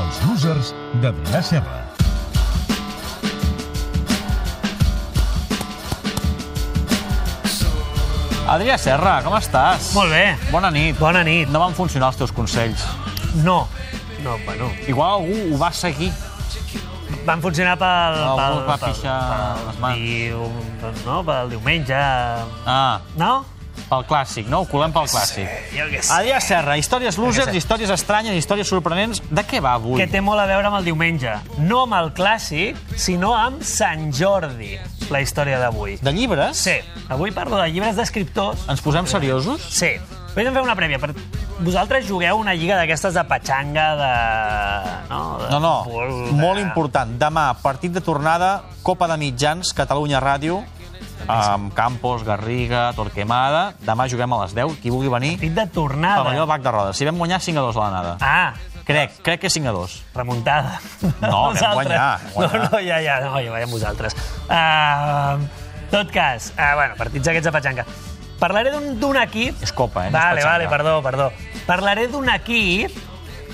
Notícies de Vila Serra. Adrià Serra, com estàs? Molt bé. Bona nit. Bona nit. No van funcionar els teus consells. No. No, bueno, Igual algú ho va seguir. van funcionar pel... Algú pel, va pixar les mans. Diu, doncs no, pel diumenge... Ah, No? pel clàssic, no? Ho colem pel clàssic. Jo què sé. Adrià Serra, històries losers, sé. històries estranyes, històries sorprenents... De què va avui? Que té molt a veure amb el diumenge. No amb el clàssic, sinó amb Sant Jordi, la història d'avui. De llibres? Sí, avui parlo de llibres d'escriptors. Ens posem seriosos? Sí. Vull fer una prèvia. Per... Vosaltres jugueu una lliga d'aquestes de patxanga, de... No, de No, no, futbol, de... molt important. Demà, partit de tornada, Copa de Mitjans, Catalunya Ràdio, amb Campos, Garriga, Torquemada. Demà juguem a les 10, qui vulgui venir, Partit de tornada. pavelló Bac de Rodes. Si vam guanyar 5 a 2 a l'anada. Ah, Crec, crec que 5 a 2. remuntada. No, vam Vosaltres. guanyar, vam guanyar. No, no, ja, ja, no, ja veiem vosaltres. Uh, tot cas, uh, bueno, partits aquests de petxanca. Parlaré d'un d'un equip... És copa, eh, no és Vale, petxanca. vale, perdó, perdó. Parlaré d'un equip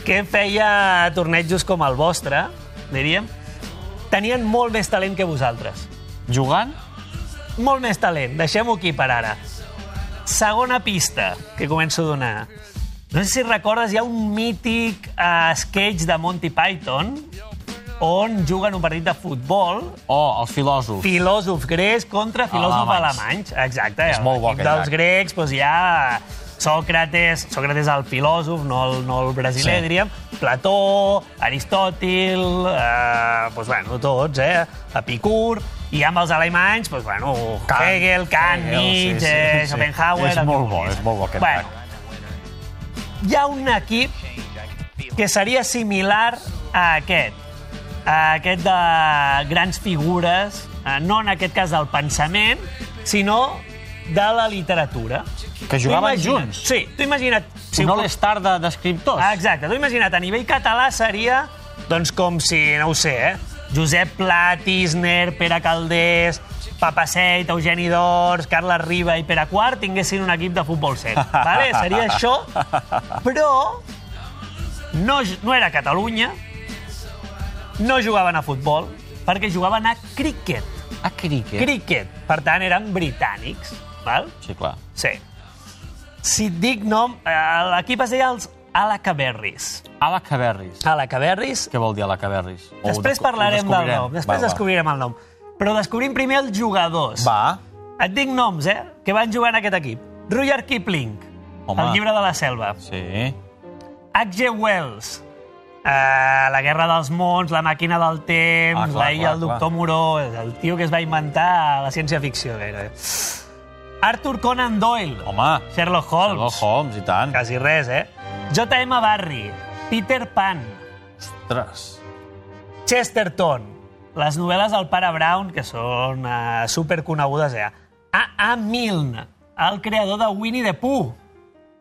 que feia tornejos com el vostre, diríem. Tenien molt més talent que vosaltres. Jugant? Molt més talent, deixem-ho aquí per ara. Segona pista que començo a donar. No sé si recordes, hi ha un mític eh, sketch de Monty Python on juguen un partit de futbol Oh, els filòsofs. filòsof grecs contra filòsof Alemanys. alemanys. Exacte. Ah, És molt bo l'equip aquell dels gag. grecs, doncs hi ha Sòcrates, Sòcrates el filòsof, no el, no el brasiler, Sí. sí. diríem, Plató, Aristòtil, eh, doncs, bueno, tots, eh? Epicur, i amb els alemanys, doncs, bueno, Kant, Hegel, Kant, Hegel, sí, Nietzsche, sí, sí. Schopenhauer... És el que molt bo, vulguis. és molt bo aquest bueno, Hi ha un equip que seria similar a aquest, a aquest de grans figures, eh, no en aquest cas del pensament, sinó de la literatura. Que Tu jugaven imagina't- junts? Sí, tu imagina't... Si ho no pot- l'estar de- d'escriptors. Ah, Exacte, tu imagina't, a nivell català seria doncs com si, no ho sé, eh? Josep Pla, Tisner, Pere Caldés, Papaseit, Eugeni d'Ors, Carles Riba i Pere Quart tinguessin un equip de futbol sec. Vale? Seria això, però no, j- no era Catalunya, no jugaven a futbol, perquè jugaven a cricket. A cricket. Cricket. Per tant, eren britànics. Val? eh? Sí, clar. Sí. Si et dic nom, eh, l'equip es deia els Alacaberris. Alacaberris. Alacaberris. Què vol dir Alacaberris? O ho Després desco- ho parlarem del descobrirem. nom. Després va, descobrirem el nom. Però descobrim primer els jugadors. Va. Et dic noms, eh?, que van jugar en aquest equip. Rudyard Kipling, Home. el llibre de la selva. va. Sí. H.G. Wells, eh, La guerra dels mons, La màquina del temps, Ah, ah, clar, clar, la illa clar, del clar. doctor Moró, el tio que es va inventar la ciència-ficció, gairebé. Arthur Conan Doyle, Home. Sherlock Holmes. Sherlock Holmes, i tant. Quasi res, eh? J.M. Barry, Peter Pan, Ostres. Chesterton, les novel·les del pare Brown, que són uh, superconegudes, eh? A.A. Milne, el creador de Winnie the Pooh.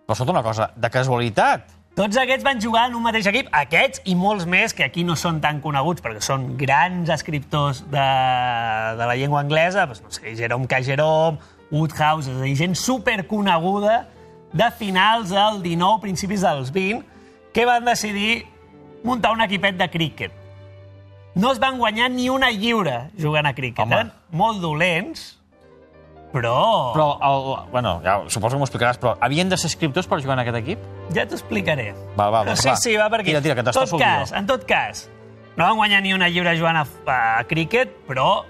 Però escolta una cosa, de casualitat. Tots aquests van jugar en un mateix equip, aquests i molts més, que aquí no són tan coneguts, perquè són grans escriptors de, de la llengua anglesa, doncs, no sé, Jerome K. Jerome, Woodhouse, és a dir, gent superconeguda de finals del 19, principis dels 20, que van decidir muntar un equipet de críquet. No es van guanyar ni una lliure jugant a críquet. Home. Eren molt dolents, però... però... Però, el, bueno, ja, suposo que m'ho explicaràs, però havien de ser escriptors per jugar en aquest equip? Ja t'ho explicaré. Va, va, Però doncs sí, va. sí, va per aquí. Tira, tira, que en t'estàs tot cas, En tot cas, no van guanyar ni una lliure jugant a, a cricket, però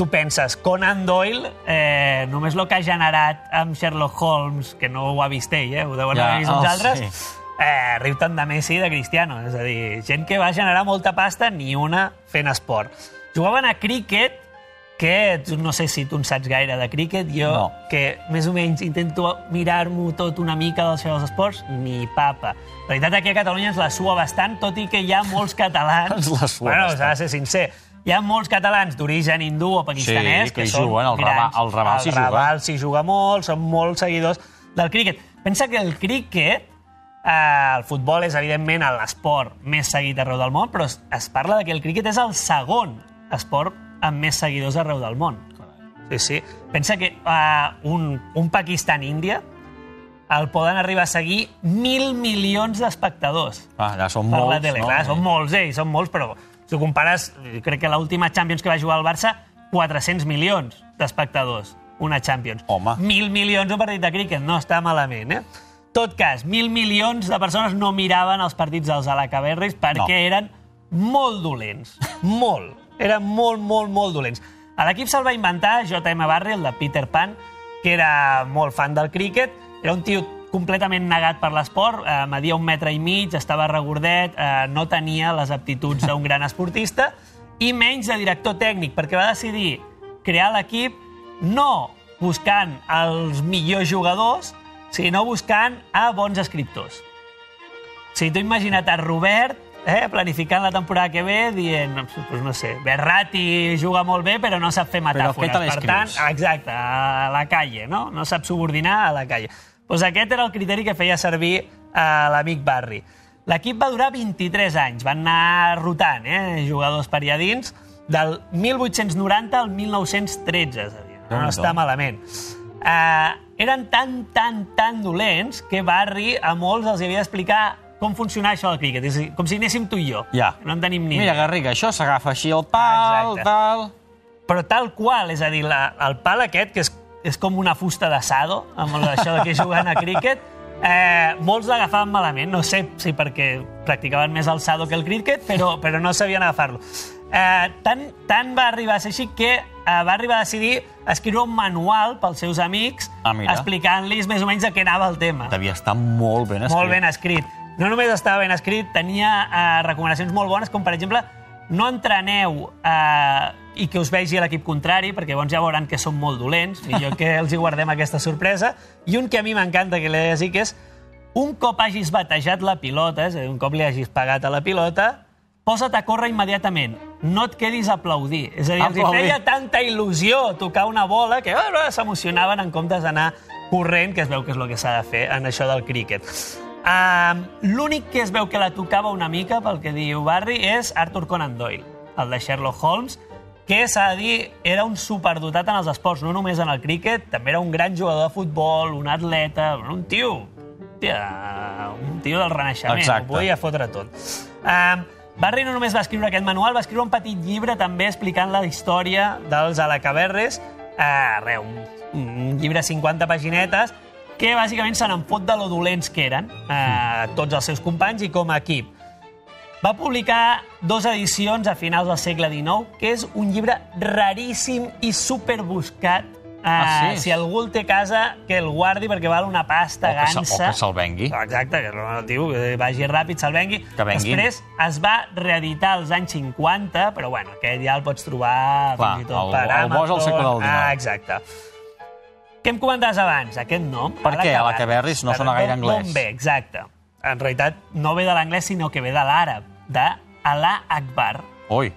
tu penses, Conan Doyle, eh, només el que ha generat amb Sherlock Holmes, que no ho ha vist ell, eh, ho deuen Ja, haver vist oh, uns altres, sí. eh, riu tant de Messi i de Cristiano. És a dir, gent que va generar molta pasta, ni una fent esport. Jugaven a cricket, que tu- no sé si tu en saps gaire de cricket, jo No. que més o menys intento mirar-m'ho tot una mica dels seus esports, ni papa. La veritat, aquí a Catalunya ens la sua bastant, tot i que hi ha molts catalans... Ens la sua bueno, bastant. s'ha de ser sincer. Hi ha molts catalans d'origen hindú o pakistanès Sí, que hi són juguen, el Raval- grans. el Raval s'hi el juga. Raval s'hi juga molt, són molts seguidors del críquet. Pensa que el críquet, eh, el futbol és evidentment l'esport més seguit arreu del món, però es, es parla de que el críquet és el segon esport amb més seguidors arreu del món. Sí, sí. Pensa que eh, un, un Pakistan-Índia el poden arribar a seguir mil milions d'espectadors Ah, ja són per molts, la tele. no? Clar, són molts, eh? Són molts, però si ho compares, crec que l'última Champions que va jugar el Barça, 400 milions d'espectadors, una Champions. Home. Mil milions un partit de críquet, no està malament, eh? tot cas, mil milions de persones no miraven els partits dels Alacaberris perquè No. eren molt dolents. Molt. Eren molt, molt, molt dolents. A l'equip se'l va inventar J.M. Barry, el de Peter Pan, que era molt fan del críquet. Era un tio completament negat per l'esport, eh, media un metre i mig, estava regordet, eh, no tenia les aptituds d'un gran esportista i menys de director tècnic, perquè va decidir crear l'equip no buscant els millors jugadors, sinó buscant a bons escriptors. O sigui, tu imagina't a Robert eh, planificant la temporada que ve dient, doncs no sé, Berrati juga molt bé però no sap fer Però metàfores. què te per tant, l'escrius? exacte, a la calle, no? No sap subordinar a la calle. Doncs aquest era el criteri que feia servir eh, l'amic Barry. L'equip va durar 23 anys, van anar rotant, eh, jugadors periadins, del 1890 al 1913, és a dir, no, Déu-n'hi-do. no està malament. Uh, eren tan, tan, tan dolents que Barry a molts els havia d'explicar com funcionava això del críquet, és a dir, com si anéssim tu i jo. Ja. No en tenim ni... Mira, Garriga, això s'agafa així el pal, Exacte. tal... Però tal qual, és a dir, la, el pal aquest, que és, és com una fusta d'assado, amb el- això de que jugant a críquet, eh, molts l'agafaven malament, no sé si perquè practicaven més el sado que el críquet, però, però no sabien agafar-lo. Eh, tant, tant va arribar a ser així que eh, va arribar a decidir escriure un manual pels seus amics Ah, mira. explicant-los més o menys de què anava el tema. Devia estar molt ben escrit. Molt ben escrit. No només estava ben escrit, tenia eh, recomanacions molt bones, com per exemple, no entreneu eh, i que us vegi l'equip contrari, perquè llavors ja veuran que són molt dolents, millor que els hi guardem aquesta sorpresa. I un que a mi m'encanta que l'he de dir, que és un cop hagis batejat la pilota, és a dir, un cop li hagis pagat a la pilota, posa't a córrer immediatament. No et quedis a aplaudir. És a dir, els hi Aplaudir. feia tanta il·lusió tocar una bola que ah, s'emocionaven en comptes d'anar corrent, que es veu que és el que s'ha de fer en això del críquet. Um, L'únic que es veu que la tocava una mica, pel que diu Barry, és Arthur Conan Doyle, el de Sherlock Holmes, que s'ha de dir, era un superdotat en els esports, no només en el críquet, també era un gran jugador de futbol, un atleta, un tio, hòstia, un tio del renaixement, Exacte. ho podia fotre tot. Um, Barry no només va escriure aquest manual, va escriure un petit llibre també explicant la història dels Alacaberres, uh, re, un, un llibre de 50 paginetes, que bàsicament se n'enfot de lo dolents que eren uh, Hmm. tots els seus companys i com a equip. Va publicar dos edicions a finals del segle XIX, que és un llibre raríssim i superbuscat. Uh, Ah, sí? Si algú el té a casa, que el guardi perquè val una pasta O que se- o gansa. que se'l vengui. Exacte, que el tio que vagi ràpid, se'l vengui. Que venguin. Després es va reeditar als anys 50, però bueno, aquest ja el pots trobar Clar, fins i tot el- per el Amazon. bo és el segle del XIX. Ah, exacte. Què em comentaves abans, aquest nom? Per què? Alacaberris. Alacaberris no Però sona gaire d'on- anglès. D'on ve, exacte. En realitat, no ve de l'anglès, sinó que ve de l'àrab, de Alà Akbar. Ui,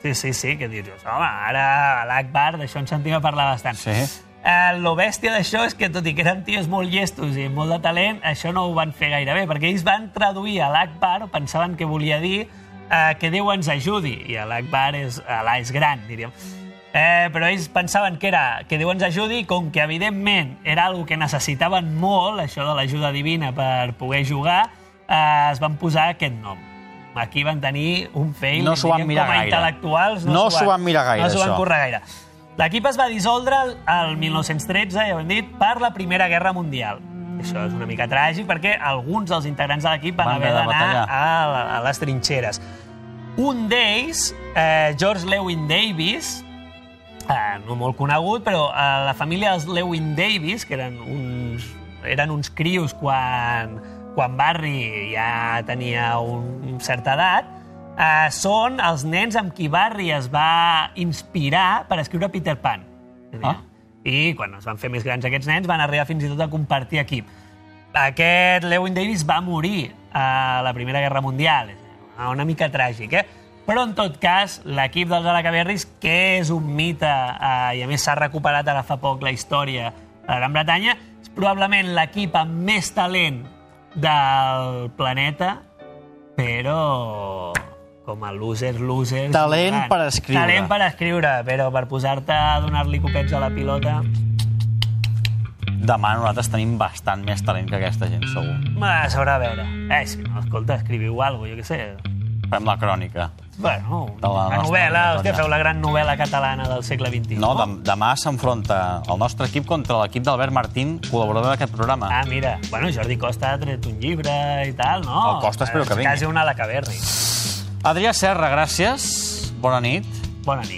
Sí, sí, sí, que dius, home, ara l'Akbar, d'això en sentim a parlar bastant. Sí. Eh, lo bèstia d'això és que, tot i que eren tios molt llestos i molt de talent, això no ho van fer gaire bé, perquè ells van traduir a l'Akbar, o pensaven que volia dir eh, que Déu ens ajudi, i l'Akbar és, Alà és gran, diríem. Eh, però ells pensaven que era que Déu ens ajudi, i com que evidentment era algo que necessitaven molt, això de l'ajuda divina per poder jugar, eh, es van posar aquest nom. Aquí van tenir un fail No s'ho van diríem, mirar com a gaire. intel·lectuals No s'ho van mirar gaire, no s'ho van això. córrer gaire. L'equip es va dissoldre el- el 1913, ja ho hem dit, per la Primera Guerra Mundial. Això és una mica tràgic perquè alguns dels integrants de l'equip van, Van haver haver de d'anar batallar. a, la- a les trinxeres. Un d'ells, eh, George Lewin Davis, eh, no molt conegut, però eh, la família dels Lewin Davis, que eren uns, eren uns crios quan, quan Barry ja tenia un, un certa edat, eh, són els nens amb qui Barry es va inspirar per escriure Peter Pan. Ah. I quan es van fer més grans aquests nens van arribar fins i tot a compartir equip. Aquest Lewin Davis va morir a la Primera Guerra Mundial. Una mica tràgic, eh? Però, en tot cas, l'equip dels Alacaberris, que és un mite, eh, i a més s'ha recuperat ara fa poc la història de Gran Bretanya, és probablement l'equip amb més talent del planeta, però com a losers, losers... Talent jugant. per escriure. Talent per escriure, però per posar-te a donar-li copets a la pilota... demà nosaltres tenim bastant més talent que aquesta gent, segur. Ma, S'haurà a veure. Eh, si no, escolta, escriviu alguna cosa, jo què sé. Fem la crònica. Bueno, De la la nostra novel·la, hòstia, Antonia. feu la gran novel·la catalana del segle XXI. No, dem demà s'enfronta el nostre equip contra l'equip d'Albert Martín, col·laborador d'aquest programa. Ah, mira, bueno, Jordi Costa ha tret un llibre i tal, no? El Costa espero que És vingui. Quasi una a la Caverni. Adrià Serra, gràcies. Bona nit. Bona nit.